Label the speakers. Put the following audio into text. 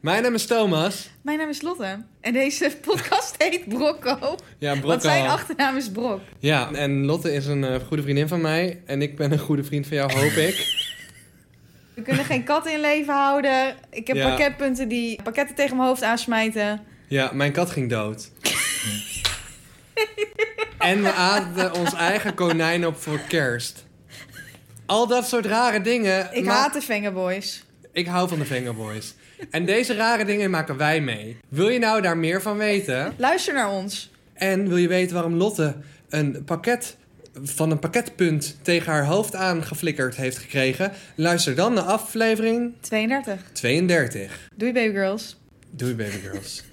Speaker 1: Mijn naam is Thomas.
Speaker 2: Mijn naam is Lotte en deze podcast heet Brocco.
Speaker 1: Ja, Brokko.
Speaker 2: Want zijn achternaam is Brok.
Speaker 1: Ja, en Lotte is een eh, goede vriendin van mij. En ik ben een goede vriend van jou, hoop ik.
Speaker 2: We kunnen geen kat in leven houden. Ik heb
Speaker 1: Ja.
Speaker 2: pakketpunten die pakketten tegen mijn hoofd aansmijten.
Speaker 1: Ja, mijn kat ging dood. En we aten ons eigen konijn op voor kerst. Al dat soort rare dingen.
Speaker 2: Ik
Speaker 1: ma-
Speaker 2: haat de Vengerboys.
Speaker 1: ik hou van de Fingerboys. En deze rare dingen maken wij mee. Wil je nou daar meer van weten?
Speaker 2: Luister naar ons.
Speaker 1: En wil je weten waarom Lotte een pakket van een pakketpunt tegen haar hoofd aangeflikkerd heeft gekregen? Luister dan naar aflevering
Speaker 2: 32.
Speaker 1: 32.
Speaker 2: Doei babygirls.
Speaker 1: Doei, babygirls.